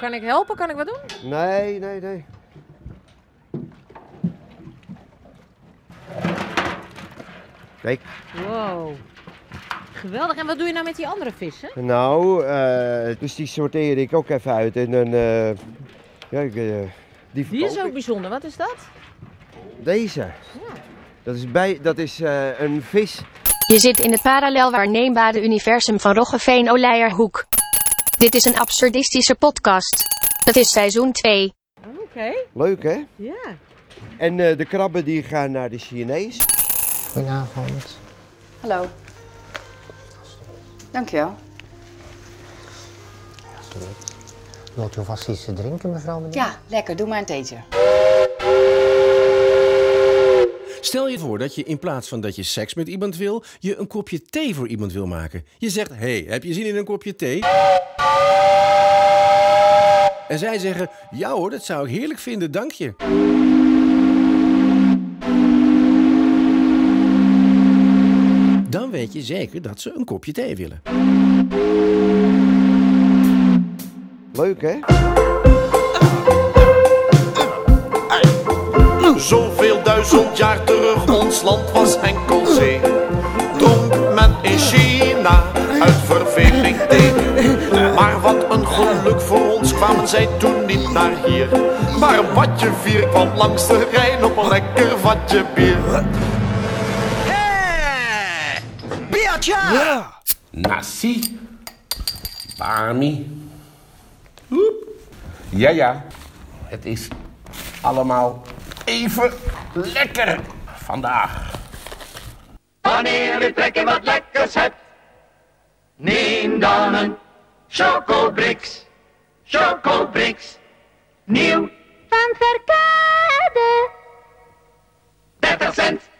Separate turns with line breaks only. Kan ik helpen? Kan ik wat doen?
Nee, nee, nee. Kijk,
Wow. Geweldig. En wat doe je nou met die andere vissen?
nou, eh, dus die sorteer ik ook even uit en dan, eh, ja, ik, eh, die
Die is
verkoop
ook
ik.
bijzonder. Wat is dat?
Deze. Dat is, bij, dat is eh, een vis.
Je zit in het parallel waarneembare universum van Roggeveen Oleierhoek. Dit is een absurdistische podcast. Dat is seizoen 2.
Oké.
Leuk, hè?
Ja.
En eh, de krabben die gaan naar de Chinees.
Goedenavond.
Hallo. Dankjewel.
Alsjeblieft. Wilt u vast iets te drinken, mevrouw meneer?
Ja, lekker. Doe maar een theetje.
Stel je voor dat je in plaats van dat je seks met iemand wil, je een kopje thee voor iemand wil maken. Je zegt: hey, heb je zin in een kopje thee? En zij zeggen: Ja hoor, dat zou ik heerlijk vinden, dank je. Dan weet je zeker dat ze een kopje thee willen.
Leuk, hè?
Zoveel duizend jaar terug, ons land was enkel zee. Dronk men in China uit verveling thee. Maar wat een geluk voor ons kwamen zij toen niet naar hier. Maar een watje vier kwam langs de Rijn op een lekker vatje bier.
Nasi. Bami. Oep. Ja, ja. Het is allemaal even lekker vandaag.
Wanneer u trek in wat lekkers hebt, neem dan een Chocobrix. Chocobrix, nieuw. Van Verkade. 30 cent.